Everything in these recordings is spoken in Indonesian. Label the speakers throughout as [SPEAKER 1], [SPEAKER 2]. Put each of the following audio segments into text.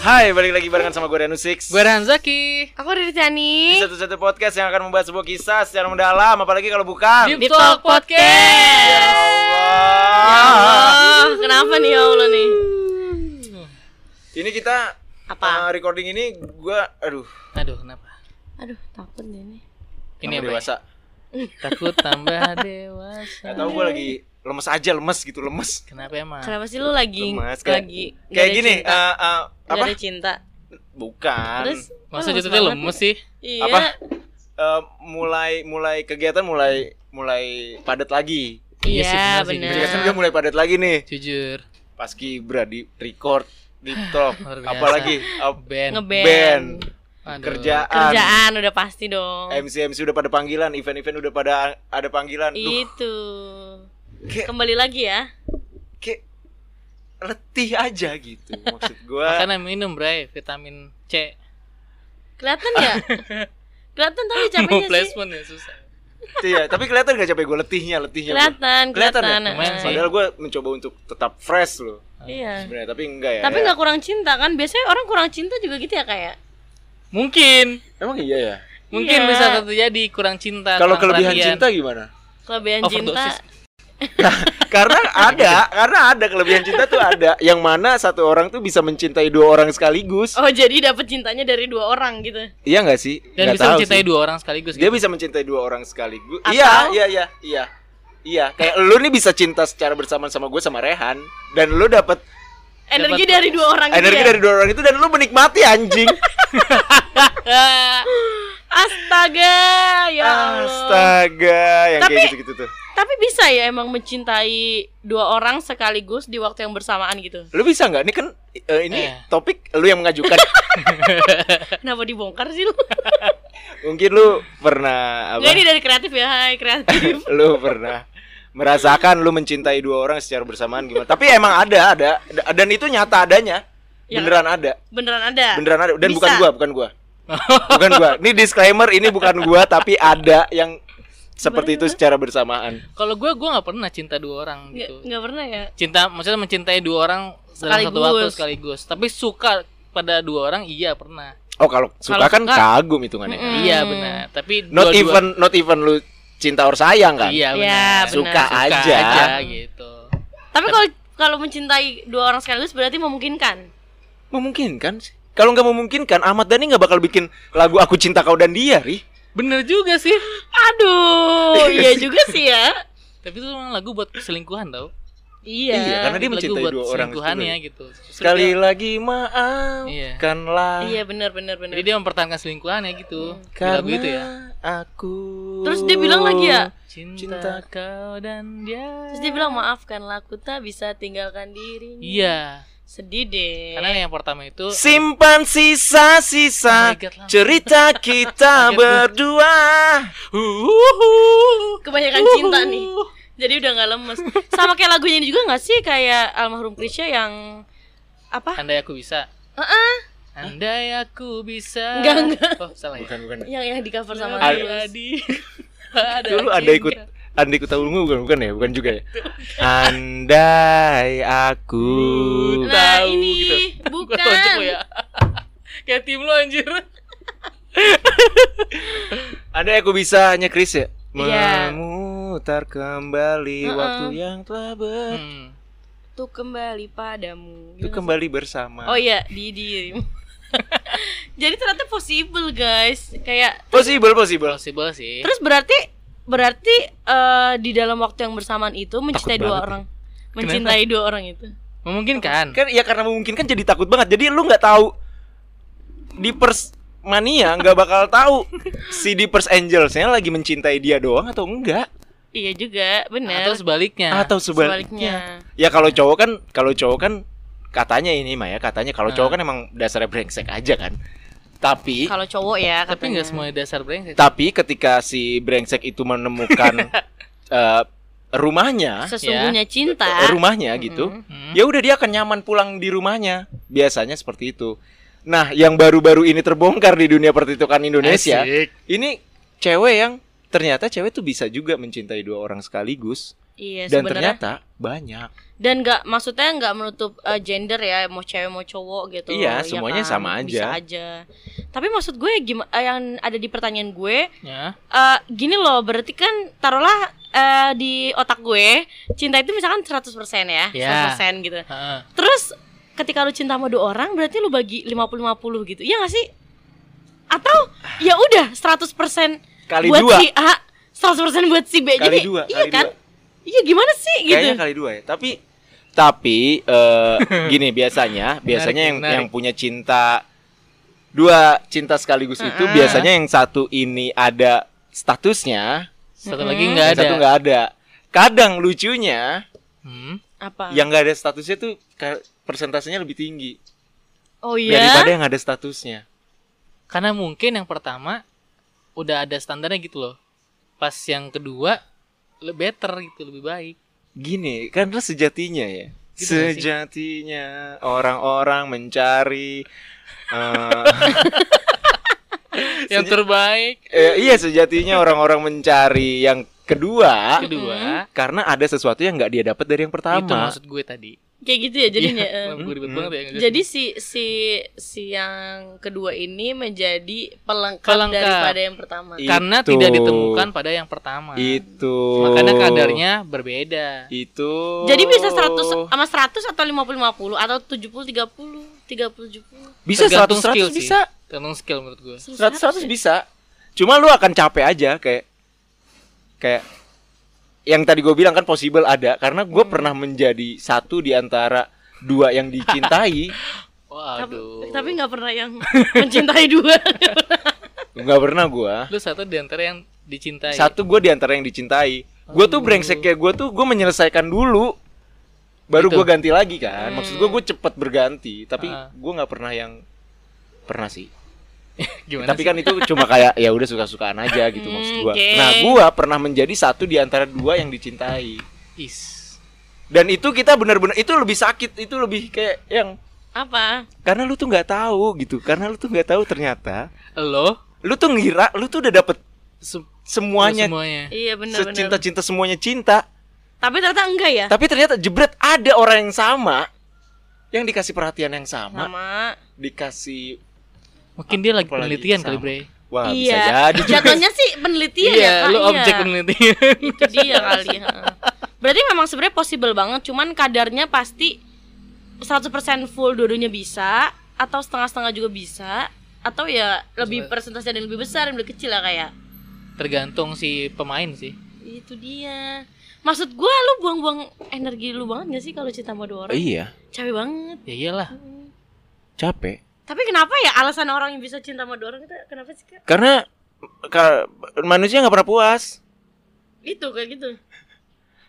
[SPEAKER 1] Hai, balik lagi barengan sama gue Danu Six
[SPEAKER 2] Gue Ranzaki
[SPEAKER 3] Aku dari Tiani.
[SPEAKER 1] Di satu-satu podcast yang akan membahas sebuah kisah secara mendalam Apalagi kalau bukan
[SPEAKER 2] Deep Talk
[SPEAKER 1] Ya
[SPEAKER 2] Podcast
[SPEAKER 1] Allah
[SPEAKER 3] Oh, kenapa nih ya Allah nih?
[SPEAKER 1] Ini kita
[SPEAKER 3] Apa?
[SPEAKER 1] eh, recording ini gue, aduh
[SPEAKER 2] Aduh kenapa
[SPEAKER 3] Aduh, takut deh ini.
[SPEAKER 1] tambah
[SPEAKER 2] Ini apa ya?
[SPEAKER 1] dewasa
[SPEAKER 2] Takut tambah dewasa
[SPEAKER 3] ya?
[SPEAKER 1] Gak tau gue lagi lemes aja, lemes gitu, lemes
[SPEAKER 2] Kenapa emang
[SPEAKER 3] Kenapa sih lu lagi
[SPEAKER 1] Lemas, kayak-
[SPEAKER 3] lagi nggak
[SPEAKER 1] Kayak
[SPEAKER 3] ada
[SPEAKER 1] gini,
[SPEAKER 3] cinta?
[SPEAKER 1] eh, eh,
[SPEAKER 3] Nggak
[SPEAKER 1] apa?
[SPEAKER 3] ada cinta.
[SPEAKER 1] Bukan
[SPEAKER 3] Terus
[SPEAKER 2] Masa
[SPEAKER 3] kok
[SPEAKER 2] jatuhnya
[SPEAKER 3] banget?
[SPEAKER 2] lemes sih
[SPEAKER 3] Iya.
[SPEAKER 1] Apa? Eh, mulai mulai kegiatan mulai mulai padat lagi.
[SPEAKER 2] Iya sih,
[SPEAKER 3] Iya,
[SPEAKER 2] benar sih,
[SPEAKER 3] benar.
[SPEAKER 2] gitu.
[SPEAKER 1] Kegiatan udah mulai padat lagi nih.
[SPEAKER 2] Jujur
[SPEAKER 1] Pas Kibra di record, di talk,
[SPEAKER 2] Luar biasa.
[SPEAKER 1] apalagi ap-
[SPEAKER 2] Band
[SPEAKER 3] Ngeband.
[SPEAKER 1] band,
[SPEAKER 2] Aduh.
[SPEAKER 1] kerjaan,
[SPEAKER 3] Kerjaan udah pasti dong.
[SPEAKER 1] MC MC udah pada panggilan, event-event udah pada ada panggilan. Duh,
[SPEAKER 3] Itu.
[SPEAKER 1] kayak,
[SPEAKER 3] Kembali lagi ya.
[SPEAKER 1] kayak letih aja gitu maksud gua.
[SPEAKER 2] Makan dan minum bray Vitamin C
[SPEAKER 3] Kelihatan ya? Kelihatan tapi
[SPEAKER 2] Mau
[SPEAKER 3] capeknya sih.
[SPEAKER 2] placement ya susah
[SPEAKER 1] Iya, tapi kelihatan gak capek gua letihnya, letihnya. gua.
[SPEAKER 3] Kelihatan,
[SPEAKER 1] Kelihatan ya?
[SPEAKER 3] kelihatan.
[SPEAKER 2] Lumayan
[SPEAKER 3] eh.
[SPEAKER 2] sih.
[SPEAKER 1] Padahal gua mencoba untuk tetap fresh loh.
[SPEAKER 3] Iya.
[SPEAKER 1] Sebenarnya tapi enggak ya.
[SPEAKER 3] Tapi
[SPEAKER 1] ya.
[SPEAKER 3] nggak kurang cinta kan? Biasanya orang kurang cinta juga gitu ya kayak.
[SPEAKER 2] Mungkin
[SPEAKER 1] Emang iya ya.
[SPEAKER 2] Mungkin
[SPEAKER 3] Iya.
[SPEAKER 2] bisa terjadi kurang cinta
[SPEAKER 1] Kalau
[SPEAKER 2] kurang
[SPEAKER 1] kelebihan
[SPEAKER 2] perhatian.
[SPEAKER 1] cinta gimana?
[SPEAKER 3] Kelebihan cinta.
[SPEAKER 2] Overdosis.
[SPEAKER 1] karena ada, karena ada kelebihan cinta tuh ada. Yang mana satu orang tuh bisa mencintai dua orang sekaligus.
[SPEAKER 3] Oh, jadi dapat cintanya dari dua orang gitu.
[SPEAKER 1] Iya nggak sih?
[SPEAKER 2] Dan
[SPEAKER 1] Nggak
[SPEAKER 2] bisa
[SPEAKER 1] tahu
[SPEAKER 2] mencintai
[SPEAKER 1] sih.
[SPEAKER 2] dua orang sekaligus
[SPEAKER 1] Dia
[SPEAKER 2] gitu.
[SPEAKER 1] bisa mencintai dua orang sekaligus.
[SPEAKER 3] Atau-
[SPEAKER 1] Iya, iya, iya, iya. Iya, kayak lu nih bisa cinta secara bersamaan sama gue sama Rehan dan lu dapet
[SPEAKER 3] Energi
[SPEAKER 2] Dapat-
[SPEAKER 3] dari dua orang gitu
[SPEAKER 1] energi
[SPEAKER 3] ya?
[SPEAKER 1] dari dua orang itu dan lu menikmati anjing.
[SPEAKER 2] Ah,
[SPEAKER 3] Astaga, ya Allah.
[SPEAKER 1] Astaga, yang kayak
[SPEAKER 3] Tapi-
[SPEAKER 1] gitu-gitu tuh.
[SPEAKER 3] Tapi bisa ya emang mencintai dua orang sekaligus di waktu yang bersamaan gitu.
[SPEAKER 1] Lu bisa nggak? Ini kan eh, ini
[SPEAKER 2] Eh.
[SPEAKER 1] topik lu yang mengajukan.
[SPEAKER 3] Kenapa dibongkar sih lu?
[SPEAKER 1] Mungkin lu pernah apa?
[SPEAKER 3] Nggak, ini dari kreatif ya, hai kreatif.
[SPEAKER 1] lu pernah merasakan lu mencintai dua orang secara bersamaan gimana? Tapi emang ada, ada ada- dan itu nyata adanya.
[SPEAKER 3] Ya.
[SPEAKER 1] Beneran ada.
[SPEAKER 3] Beneran ada?
[SPEAKER 1] Beneran ada. Dan
[SPEAKER 3] Bisa.
[SPEAKER 1] bukan gua, bukan gua. Bukan gua. Ini disclaimer ini bukan gua tapi ada yang seperti itu secara bersamaan.
[SPEAKER 2] Kalau gue, gue gak pernah cinta dua orang
[SPEAKER 3] Nggak,
[SPEAKER 2] gitu
[SPEAKER 3] nggak pernah ya?
[SPEAKER 2] cinta maksudnya mencintai dua orang dalam satu
[SPEAKER 3] Sekaligus.
[SPEAKER 2] waktu sekaligus tapi suka pada dua orang iya pernah
[SPEAKER 1] Oh, kalau suka
[SPEAKER 2] Kalau
[SPEAKER 1] kan
[SPEAKER 2] suka-
[SPEAKER 1] kagum hitungannya.
[SPEAKER 3] Mm-mm.
[SPEAKER 2] iya benar tapi
[SPEAKER 1] Not
[SPEAKER 2] dua-dua-
[SPEAKER 1] even not even lu cinta or sayang kan?
[SPEAKER 2] iya benar
[SPEAKER 3] Iya, benar.
[SPEAKER 1] Suka aja.
[SPEAKER 2] gitu
[SPEAKER 3] Tapi kalau kalau mencintai dua orang sekaligus berarti memungkinkan.
[SPEAKER 1] Memungkinkan sih. Kalau nggak memungkinkan, Ahmad Dhani nggak bakal bikin lagu Aku Cinta Kau dan Dia, Ri.
[SPEAKER 2] bener juga sih
[SPEAKER 3] Aduh, iya juga sih ya.
[SPEAKER 2] tapi itu memang lagu buat selingkuhan tau
[SPEAKER 3] Iya.
[SPEAKER 1] Iya, karena dia
[SPEAKER 2] Lagu
[SPEAKER 1] mencintai
[SPEAKER 2] buat
[SPEAKER 1] dua orang
[SPEAKER 2] selingkuhannya gitu Justru
[SPEAKER 1] Sekali
[SPEAKER 2] dia-
[SPEAKER 1] lagi maafkanlah.
[SPEAKER 3] Iya benar benar benar.
[SPEAKER 2] jadi dia mempertahankan selingkuhannya gitu Di
[SPEAKER 1] Karena
[SPEAKER 2] lagu itu ya
[SPEAKER 1] aku
[SPEAKER 3] Terus dia bilang lagi ya?
[SPEAKER 2] cinta,
[SPEAKER 1] Cinta.
[SPEAKER 2] kau dan dia
[SPEAKER 3] Terus dia bilang maafkanlah aku tak bisa tinggalkan dirinya.
[SPEAKER 2] iya
[SPEAKER 3] Sedih deh.
[SPEAKER 2] karena yang pertama itu
[SPEAKER 1] Simpan sisa-sisa
[SPEAKER 2] Oh my God, Lam.
[SPEAKER 1] cerita kita
[SPEAKER 2] Kaget gua.
[SPEAKER 1] berdua
[SPEAKER 3] kebanyakan cinta nih jadi udah nggak lemes sama kayak lagunya ini juga nggak sih kayak almarhum Krisya yang apa
[SPEAKER 2] andai aku bisa
[SPEAKER 3] Heeh.
[SPEAKER 2] Andai aku bisa
[SPEAKER 3] Enggak, enggak.
[SPEAKER 2] Oh salah ya
[SPEAKER 1] Bukan, bukan
[SPEAKER 3] yang yang di cover sama
[SPEAKER 2] Nah,
[SPEAKER 1] Ada-
[SPEAKER 3] Tulus
[SPEAKER 2] ada
[SPEAKER 1] Dulu anda ikut Andai ku tahu ilmu bukan, bukan ya? Bukan juga ya? Andai aku
[SPEAKER 3] nah
[SPEAKER 2] Tahu
[SPEAKER 3] ini
[SPEAKER 2] gitu. Gua tonjok
[SPEAKER 3] bukan
[SPEAKER 2] lo ya Kayak tim lo anjir
[SPEAKER 1] Andai aku bisa hanya Chris ya?
[SPEAKER 3] Iya.
[SPEAKER 1] Memutar kembali
[SPEAKER 3] Mm-mm.
[SPEAKER 1] waktu yang telah ber
[SPEAKER 2] hmm.
[SPEAKER 3] tuh kembali padamu
[SPEAKER 2] Iya.
[SPEAKER 1] Itu kembali bersama
[SPEAKER 3] oh iya di dirimu jadi ternyata possible guys kayak
[SPEAKER 1] Possible, possible
[SPEAKER 2] Possible sih
[SPEAKER 3] terus berarti berarti eh, di dalam waktu yang bersamaan itu mencintai
[SPEAKER 1] Takut
[SPEAKER 3] dua
[SPEAKER 1] banget
[SPEAKER 3] orang mencintai dua orang itu
[SPEAKER 2] Memungkinkan
[SPEAKER 1] kan ya karena memungkinkan jadi takut banget jadi lu nggak tahu di pers mania nggak bakal tahu si di pers angelsnya lagi mencintai dia doang atau enggak
[SPEAKER 3] iya juga benar
[SPEAKER 2] Atau Ya, sebaliknya
[SPEAKER 1] atau sebaliknya
[SPEAKER 3] sebaliknya
[SPEAKER 1] ya kalau cowok kan kalau cowok kan katanya ini Maya katanya kalau cowok kan emang dasarnya brengsek aja kan tapi
[SPEAKER 3] kalau cowok ya
[SPEAKER 2] Tapi
[SPEAKER 3] katanya.
[SPEAKER 2] nggak semuanya dasar brengsek
[SPEAKER 1] tapi ketika si brengsek itu menemukan eh, rumahnya
[SPEAKER 3] sesungguhnya cinta
[SPEAKER 1] eh, rumahnya gitu
[SPEAKER 2] Hmm.
[SPEAKER 1] ya udah dia akan nyaman pulang di rumahnya biasanya seperti itu nah yang baru-baru ini terbongkar di dunia pertitukan Indonesia
[SPEAKER 2] Asik.
[SPEAKER 1] ini cewek yang ternyata cewek tuh bisa juga mencintai dua orang sekaligus
[SPEAKER 3] Iya
[SPEAKER 1] Dan
[SPEAKER 3] sebenarnya
[SPEAKER 1] ternyata banyak.
[SPEAKER 3] dan nggak maksudnya nggak menutup eh, gender ya mau cewek mau cowok gitu
[SPEAKER 1] Iya,
[SPEAKER 3] ya
[SPEAKER 1] semuanya
[SPEAKER 3] kan?
[SPEAKER 1] sama
[SPEAKER 3] Bisa
[SPEAKER 1] aja.
[SPEAKER 3] aja tapi maksud gue gimana yang ada di pertanyaan gue
[SPEAKER 2] Ya.
[SPEAKER 3] eh, gini loh berarti kan taruhlah eh, di otak gue cinta itu misalkan 100% ya
[SPEAKER 2] Iya.
[SPEAKER 3] 100% gitu
[SPEAKER 2] Heeh.
[SPEAKER 3] terus ketika lu cinta sama dua orang berarti lu bagi 50-50 gitu iya nggak sih atau ya udah 100%
[SPEAKER 1] Kali
[SPEAKER 3] buat
[SPEAKER 1] dua.
[SPEAKER 3] si A 100% buat si B
[SPEAKER 1] Kali
[SPEAKER 3] jadi
[SPEAKER 1] dua,
[SPEAKER 3] iya
[SPEAKER 1] kali
[SPEAKER 3] kan
[SPEAKER 1] dua.
[SPEAKER 3] iya gimana sih gitu
[SPEAKER 1] Kayaknya kali dua ya. Tapi tapi eh, gini biasanya biasanya yang
[SPEAKER 2] menarik.
[SPEAKER 1] yang punya cinta dua cinta sekaligus itu
[SPEAKER 3] Mm-mm.
[SPEAKER 1] biasanya yang satu ini ada statusnya,
[SPEAKER 2] Satu
[SPEAKER 3] Mm-mm.
[SPEAKER 2] lagi nggak
[SPEAKER 1] yang
[SPEAKER 2] ada.
[SPEAKER 1] satu nggak ada. Kadang lucunya
[SPEAKER 2] Hmm.
[SPEAKER 3] apa
[SPEAKER 1] yang nggak ada statusnya tuh ka- persentasenya lebih tinggi
[SPEAKER 3] oh
[SPEAKER 1] daripada
[SPEAKER 3] iya
[SPEAKER 1] yang ada statusnya.
[SPEAKER 2] Karena mungkin yang pertama udah ada standarnya gitu loh. Pas yang kedua lebih better gitu, lebih baik.
[SPEAKER 1] Gini, karena sejatinya ya.
[SPEAKER 2] Gitu gak sih?
[SPEAKER 1] sejatinya orang-orang mencari eh,
[SPEAKER 2] Yang terbaik
[SPEAKER 1] eh, iya sejatinya orang-orang mencari yang
[SPEAKER 3] Hmm.
[SPEAKER 1] kedua
[SPEAKER 2] kedua.
[SPEAKER 1] karena ada sesuatu yang nggak dia dapat dari yang pertama.
[SPEAKER 2] Itu maksud gue tadi.
[SPEAKER 3] kayak gitu ya jadinya
[SPEAKER 2] Iya,
[SPEAKER 3] eh.
[SPEAKER 2] maaf, gue ribet
[SPEAKER 1] Mm-mm.
[SPEAKER 2] banget ya. ngejelasin.
[SPEAKER 3] Jadi si si si yang kedua ini menjadi pelengkap,
[SPEAKER 2] Pelengkap.
[SPEAKER 3] daripada yang pertama.
[SPEAKER 1] Iya.
[SPEAKER 2] karena
[SPEAKER 1] Itu.
[SPEAKER 2] tidak ditemukan pada yang pertama.
[SPEAKER 1] Itu.
[SPEAKER 2] Makanya
[SPEAKER 1] Oh.
[SPEAKER 2] kadarnya berbeda.
[SPEAKER 1] itu.
[SPEAKER 3] Jadi bisa
[SPEAKER 1] Oh.
[SPEAKER 3] 100 sama 100 atau 50 50 atau 70 30 30
[SPEAKER 1] bisa 100
[SPEAKER 2] Tergantung
[SPEAKER 1] 100
[SPEAKER 2] skill sih.
[SPEAKER 1] bisa.
[SPEAKER 2] Tergantung skill menurut gue.
[SPEAKER 3] 70.
[SPEAKER 1] 100 100 bisa. Cuma lu akan capek aja kayak kayak yang tadi gue bilang kan possible ada karena gue
[SPEAKER 2] Hmm.
[SPEAKER 1] pernah menjadi satu di antara dua yang dicintai
[SPEAKER 3] Tapi-
[SPEAKER 2] Waduh.
[SPEAKER 3] Tapi nggak pernah yang mencintai dua.
[SPEAKER 1] nggak pernah gue
[SPEAKER 2] lu satu di antara yang dicintai.
[SPEAKER 1] satu gue di antara yang dicintai gue
[SPEAKER 2] Oh.
[SPEAKER 1] tuh brengsek kayak gue tuh gue menyelesaikan dulu baru
[SPEAKER 2] Gitu.
[SPEAKER 1] gue ganti lagi kan maksud gue gue cepet berganti tapi
[SPEAKER 2] Ah.
[SPEAKER 1] gue nggak pernah yang pernah sih
[SPEAKER 2] Gimana
[SPEAKER 1] tapi
[SPEAKER 2] sih?
[SPEAKER 1] kan itu cuma kayak ya udah suka-sukaan aja gitu
[SPEAKER 3] Hmm,
[SPEAKER 1] maksud gue
[SPEAKER 3] oke.
[SPEAKER 1] nah gue pernah menjadi satu di antara dua yang dicintai
[SPEAKER 2] Is.
[SPEAKER 1] dan itu kita benar-benar itu lebih sakit itu lebih kayak yang
[SPEAKER 3] Apa?
[SPEAKER 1] karena lu tuh nggak tahu gitu karena lu tuh nggak tahu ternyata
[SPEAKER 2] Lo
[SPEAKER 1] lu tuh ngira lu tuh udah dapet
[SPEAKER 2] se- lo
[SPEAKER 1] semuanya
[SPEAKER 2] semuanya.
[SPEAKER 3] Iya benar-benar.
[SPEAKER 1] cinta cinta semuanya cinta
[SPEAKER 3] Tapi ternyata enggak ya.
[SPEAKER 1] tapi ternyata jebret ada orang yang sama yang dikasih perhatian yang sama
[SPEAKER 3] Sama.
[SPEAKER 1] dikasih
[SPEAKER 2] Mungkin dia lagi
[SPEAKER 1] Apalagi
[SPEAKER 2] penelitian kali,
[SPEAKER 1] sama.
[SPEAKER 2] Bre.
[SPEAKER 1] wah
[SPEAKER 3] Iya.
[SPEAKER 1] bisa jadi juga.
[SPEAKER 3] Jatuhnya sih penelitian
[SPEAKER 2] iya,
[SPEAKER 3] ya, Kak.
[SPEAKER 2] lu objek
[SPEAKER 3] Iya.
[SPEAKER 2] penelitian.
[SPEAKER 3] itu dia kali ya. berarti memang sebenarnya possible banget cuman kadarnya pasti 100% full dua-duanya bisa atau setengah-setengah juga bisa atau ya lebih
[SPEAKER 2] Sebenarnya-
[SPEAKER 3] persentase yang lebih besar yang lebih kecil lah kayak
[SPEAKER 2] Tergantung si pemain sih.
[SPEAKER 3] itu dia maksud gua lu buang-buang energi lu banget gak sih kalau cinta sama dua orang
[SPEAKER 1] iya
[SPEAKER 3] capek banget
[SPEAKER 2] Ya iyalah.
[SPEAKER 1] capek
[SPEAKER 3] tapi kenapa ya alasan orang yang bisa cinta sama dua orang itu kenapa sih kak
[SPEAKER 1] karena ka- manusia nggak pernah puas
[SPEAKER 3] itu kayak gitu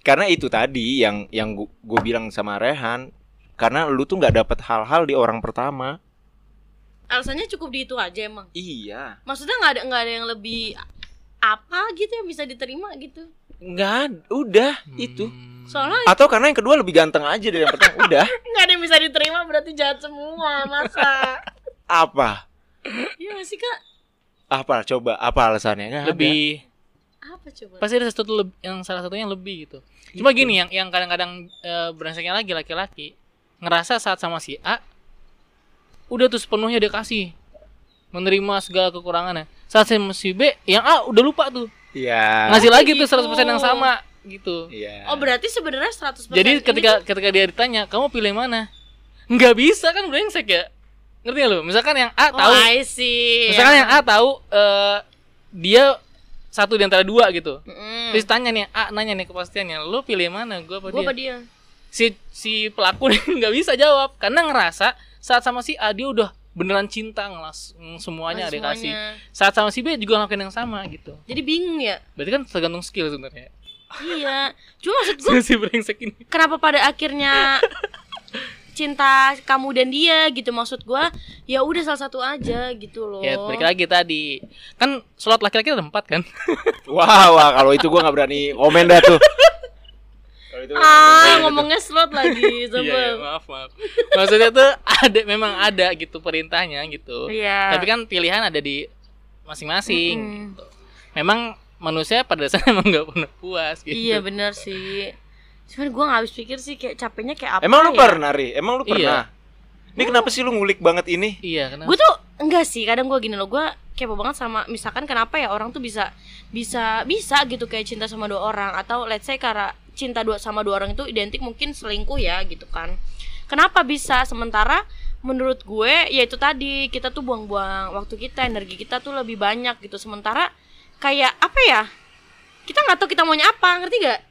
[SPEAKER 1] karena itu tadi yang yang gue bilang sama Rehan karena lu tuh nggak dapet hal-hal di orang pertama
[SPEAKER 3] alasannya cukup di itu aja emang
[SPEAKER 1] iya
[SPEAKER 3] maksudnya nggak ada nggak ada yang lebih apa gitu yang bisa diterima gitu
[SPEAKER 1] nggak ad- udah itu
[SPEAKER 2] Hmm.
[SPEAKER 3] soalnya
[SPEAKER 1] atau karena yang kedua lebih ganteng aja dari yang pertama udah
[SPEAKER 3] nggak ada yang bisa diterima berarti jahat semua masa
[SPEAKER 1] apa
[SPEAKER 3] iya nggak sih kak
[SPEAKER 1] apa coba apa alasannya Nggak ada.
[SPEAKER 2] lebih
[SPEAKER 3] apa coba
[SPEAKER 2] pasti ada satu leb- yang salah satunya yang lebih gitu. Cuma gini yang yang kadang-kadang eh, brengseknya lagi laki-laki ngerasa saat sama si A udah tuh sepenuhnya dia kasih menerima segala kekurangannya. Saat sama si B yang A udah lupa tuh.
[SPEAKER 1] iya
[SPEAKER 2] Ngasih
[SPEAKER 3] Oh,
[SPEAKER 2] lagi tuh
[SPEAKER 3] gitu.
[SPEAKER 2] 100% yang sama gitu.
[SPEAKER 1] iya
[SPEAKER 3] oh berarti sebenarnya 100%
[SPEAKER 2] Jadi
[SPEAKER 3] ini
[SPEAKER 2] ketika ketika dia ditanya, "Kamu pilih mana?" Nggak bisa kan brengsek ya. Ngerti nggak lu? Misalkan yang A
[SPEAKER 3] tuh-
[SPEAKER 2] tahu
[SPEAKER 3] oh, I see
[SPEAKER 2] misalkan ya, yang A tahu eh, dia satu di antara dua gitu. Terus tanya nih, A nanya nih kepastiannya, lu pilih mana, gua apa
[SPEAKER 3] gue
[SPEAKER 2] dia?
[SPEAKER 3] apa dia
[SPEAKER 2] Si si pelaku nih nggak bisa jawab karena ngerasa saat sama si A dia udah beneran cinta ngelas ng- semuanya
[SPEAKER 3] Ngasih
[SPEAKER 2] ada kasih.
[SPEAKER 3] semuanya.
[SPEAKER 2] Saat sama si B juga ngelakuin yang sama gitu.
[SPEAKER 3] jadi bingung ya
[SPEAKER 2] Berarti kan tergantung skill sebenarnya.
[SPEAKER 3] iya cuma maksud gue
[SPEAKER 2] Si si brengsek ini.
[SPEAKER 3] kenapa pada akhirnya cinta kamu dan dia gitu maksud gue ya udah salah satu aja gitu loh
[SPEAKER 2] Ya, balik lagi tadi. Kan slot laki-laki ada empat kan?
[SPEAKER 1] wah wah kalau itu gua nggak berani komen dah tuh Kalau itu gua-
[SPEAKER 3] ah ngomongnya slot lagi
[SPEAKER 2] Iya, iya,
[SPEAKER 3] coba
[SPEAKER 2] maaf, maaf. Maksudnya tuh ada memang ada gitu perintahnya gitu.
[SPEAKER 3] iya
[SPEAKER 2] Tapi kan pilihan ada di masing-masing.
[SPEAKER 3] Mm-mm.
[SPEAKER 2] gitu. Memang manusia pada dasarnya emang nggak pernah puas gitu.
[SPEAKER 3] Iya benar Iya, sih. Cuman gue gak habis pikir sih kayak capeknya kayak apa
[SPEAKER 1] Emang lu
[SPEAKER 3] ya.
[SPEAKER 1] pernah, Ri? Emang lu
[SPEAKER 2] Iya.
[SPEAKER 1] pernah? Ini kenapa sih lu ngulik banget ini?
[SPEAKER 2] Iya, kenapa?
[SPEAKER 3] Gue tuh enggak sih, kadang gue gini loh, gue kepo banget sama misalkan kenapa ya orang tuh bisa bisa bisa gitu kayak cinta sama dua orang atau let's say karena cinta dua sama dua orang itu identik mungkin selingkuh ya gitu kan. Kenapa bisa sementara menurut gue ya itu tadi kita tuh buang-buang waktu kita, energi kita tuh lebih banyak gitu sementara kayak apa ya? Kita nggak tahu kita maunya apa, ngerti gak?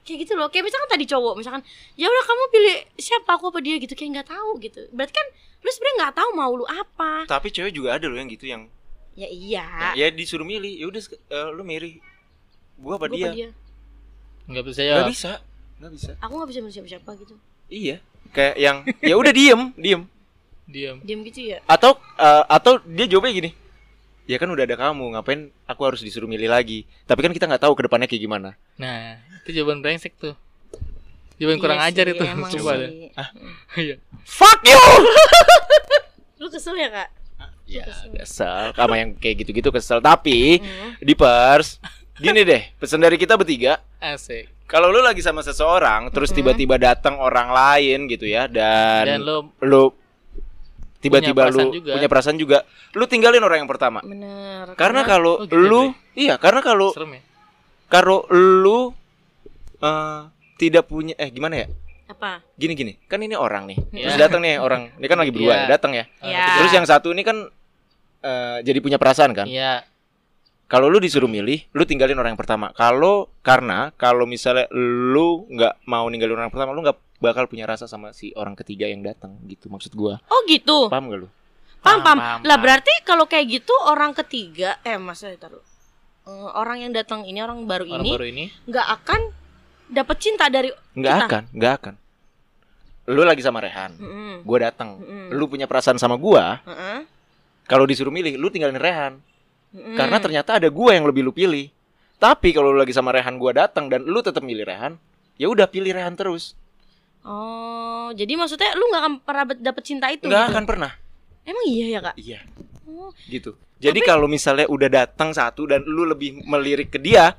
[SPEAKER 3] kayak gitu loh kayak misalkan tadi cowok misalkan ya udah kamu pilih siapa aku apa dia gitu kayak nggak tahu gitu berarti kan lu sebenarnya nggak tahu mau lu apa
[SPEAKER 1] Tapi cewek juga ada loh yang gitu yang
[SPEAKER 3] ya iya
[SPEAKER 1] ya disuruh milih. Ya udah sek- eh, lu milih gua apa
[SPEAKER 3] Gua
[SPEAKER 1] dia? Iya.
[SPEAKER 3] apa dia
[SPEAKER 2] Enggak bisa
[SPEAKER 1] Nggak
[SPEAKER 2] ya.
[SPEAKER 1] bisa. Nggak bisa.
[SPEAKER 3] aku nggak bisa sama siapa siapa gitu
[SPEAKER 1] Iya. Kayak yang ya udah diem, diem.
[SPEAKER 2] Diam.
[SPEAKER 3] diam gitu ya
[SPEAKER 1] Atau eh, atau dia jawabnya gini. Ya kan udah ada kamu, ngapain aku harus disuruh milih lagi? Tapi kan kita nggak tahu ke depannya kayak gimana.
[SPEAKER 2] Nah, itu jawaban brengsek tuh. Jawaban kurang
[SPEAKER 3] Iya
[SPEAKER 2] ajar
[SPEAKER 3] sih,
[SPEAKER 2] itu.
[SPEAKER 3] emang
[SPEAKER 2] Coba
[SPEAKER 3] sih.
[SPEAKER 2] deh. Iya.
[SPEAKER 1] Fuck you.
[SPEAKER 3] lu kesel ya kak
[SPEAKER 1] Ya, kesel sama yang kayak gitu-gitu kesel. Tapi
[SPEAKER 3] Hmm.
[SPEAKER 1] di pers gini deh, pesan dari kita bertiga,
[SPEAKER 2] Asik.
[SPEAKER 1] kalau lu lagi sama seseorang terus tiba-tiba datang orang lain gitu ya
[SPEAKER 2] Dan
[SPEAKER 1] dan,
[SPEAKER 2] lo
[SPEAKER 1] lu tiba-tiba
[SPEAKER 2] perasaan
[SPEAKER 1] lu
[SPEAKER 2] juga.
[SPEAKER 1] punya perasaan juga lu tinggalin orang yang pertama
[SPEAKER 3] bener
[SPEAKER 1] karena kalau
[SPEAKER 2] Oh, gitu,
[SPEAKER 1] lu iya karena kalau
[SPEAKER 2] serem ya?
[SPEAKER 1] kalau lu eh, tidak punya eh gimana ya
[SPEAKER 3] apa
[SPEAKER 1] gini gini kan ini orang nih terus
[SPEAKER 2] Iya.
[SPEAKER 1] datang nih orang ini kan lagi berdua
[SPEAKER 2] Iya.
[SPEAKER 1] datang ya
[SPEAKER 3] ya
[SPEAKER 1] terus yang satu ini kan eh, jadi punya perasaan kan
[SPEAKER 2] Iya.
[SPEAKER 1] Kalau lu disuruh milih, lu tinggalin orang yang pertama. Kalau karena kalau misalnya lu nggak mau ninggalin orang yang pertama, lu nggak bakal punya rasa sama si orang ketiga yang datang gitu maksud gua.
[SPEAKER 3] oh gitu
[SPEAKER 1] Paham gak lu?
[SPEAKER 3] pam pam
[SPEAKER 2] paham,
[SPEAKER 3] lah
[SPEAKER 2] paham.
[SPEAKER 3] berarti kalau kayak gitu orang ketiga eh mas saya taruh Eh, orang yang datang ini orang baru
[SPEAKER 2] Orang
[SPEAKER 3] ini
[SPEAKER 2] baru ini.
[SPEAKER 3] nggak akan dapat cinta dari
[SPEAKER 1] Nggak
[SPEAKER 3] Kita.
[SPEAKER 1] akan, nggak akan. Lu lagi sama Rehan,
[SPEAKER 3] Mm-mm.
[SPEAKER 1] gua datang.
[SPEAKER 2] Hmm.
[SPEAKER 3] Mm-mm.
[SPEAKER 1] Lu punya perasaan sama gua,
[SPEAKER 3] Mm-mm.
[SPEAKER 1] kalau disuruh milih, lu tinggalin Rehan.
[SPEAKER 3] Mm-mm.
[SPEAKER 1] Karena ternyata ada gua yang lebih lu pilih. Tapi kalau lu lagi sama Rehan gua datang dan lu tetap milih Rehan, ya udah pilih Rehan terus.
[SPEAKER 3] Oh, jadi maksudnya lu nggak akan pernah dapet cinta itu?
[SPEAKER 1] Nggak
[SPEAKER 3] gitu?
[SPEAKER 1] akan pernah.
[SPEAKER 3] Emang iya ya kak?
[SPEAKER 1] Iya.
[SPEAKER 3] Oh,
[SPEAKER 1] gitu. Jadi kalau misalnya udah datang satu dan lu lebih melirik ke dia,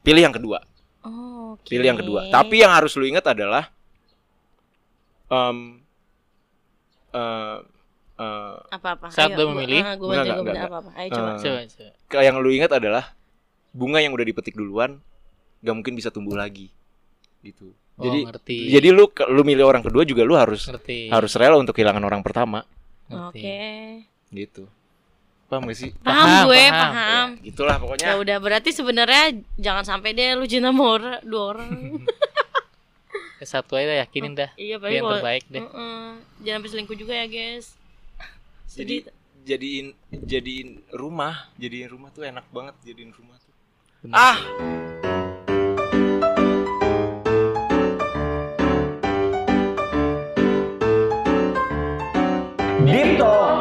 [SPEAKER 1] pilih yang kedua,
[SPEAKER 3] oh, oke.
[SPEAKER 1] pilih yang kedua. Tapi yang harus lu ingat adalah, em eh, eh,
[SPEAKER 3] apa-apa?
[SPEAKER 2] Saat
[SPEAKER 3] Ayo,
[SPEAKER 2] gua memilih?
[SPEAKER 3] gua, ah,
[SPEAKER 1] Enggak, enggak,
[SPEAKER 3] gua bantu, gua
[SPEAKER 1] enggak,
[SPEAKER 3] bener apa-apa. Ayo coba.
[SPEAKER 1] Eh,
[SPEAKER 2] Coba, coba.
[SPEAKER 1] ke- yang lu ingat adalah bunga yang udah dipetik duluan, gak mungkin bisa tumbuh lagi, gitu.
[SPEAKER 2] Oh,
[SPEAKER 1] jadi
[SPEAKER 2] ngerti.
[SPEAKER 1] jadi lu ke- lu milih orang kedua juga lu harus
[SPEAKER 2] ngerti.
[SPEAKER 3] Iya.
[SPEAKER 1] harus rela untuk kehilangan orang pertama,
[SPEAKER 2] Ngerti.
[SPEAKER 3] Oke.
[SPEAKER 1] gitu. Paham gak sih?
[SPEAKER 3] Paham,
[SPEAKER 2] Paham,
[SPEAKER 3] gue,
[SPEAKER 2] paham.
[SPEAKER 3] paham.
[SPEAKER 1] Ya, gitulah pokoknya.
[SPEAKER 3] Ya udah berarti sebenarnya jangan sampai deh lu cinta sama orang, dua orang.
[SPEAKER 2] Ya, Satu aja dah, yakinin dah.
[SPEAKER 3] iya,
[SPEAKER 2] Dia
[SPEAKER 3] paling
[SPEAKER 2] yang
[SPEAKER 3] kalau-
[SPEAKER 2] terbaik deh.
[SPEAKER 3] Mm-mm. Jangan sampai selingkuh juga ya, guys.
[SPEAKER 1] jadi jadiin
[SPEAKER 3] Jadi
[SPEAKER 1] jadiin rumah jadiin rumah tuh enak banget jadiin rumah tuh
[SPEAKER 2] Bener.
[SPEAKER 1] ah Dito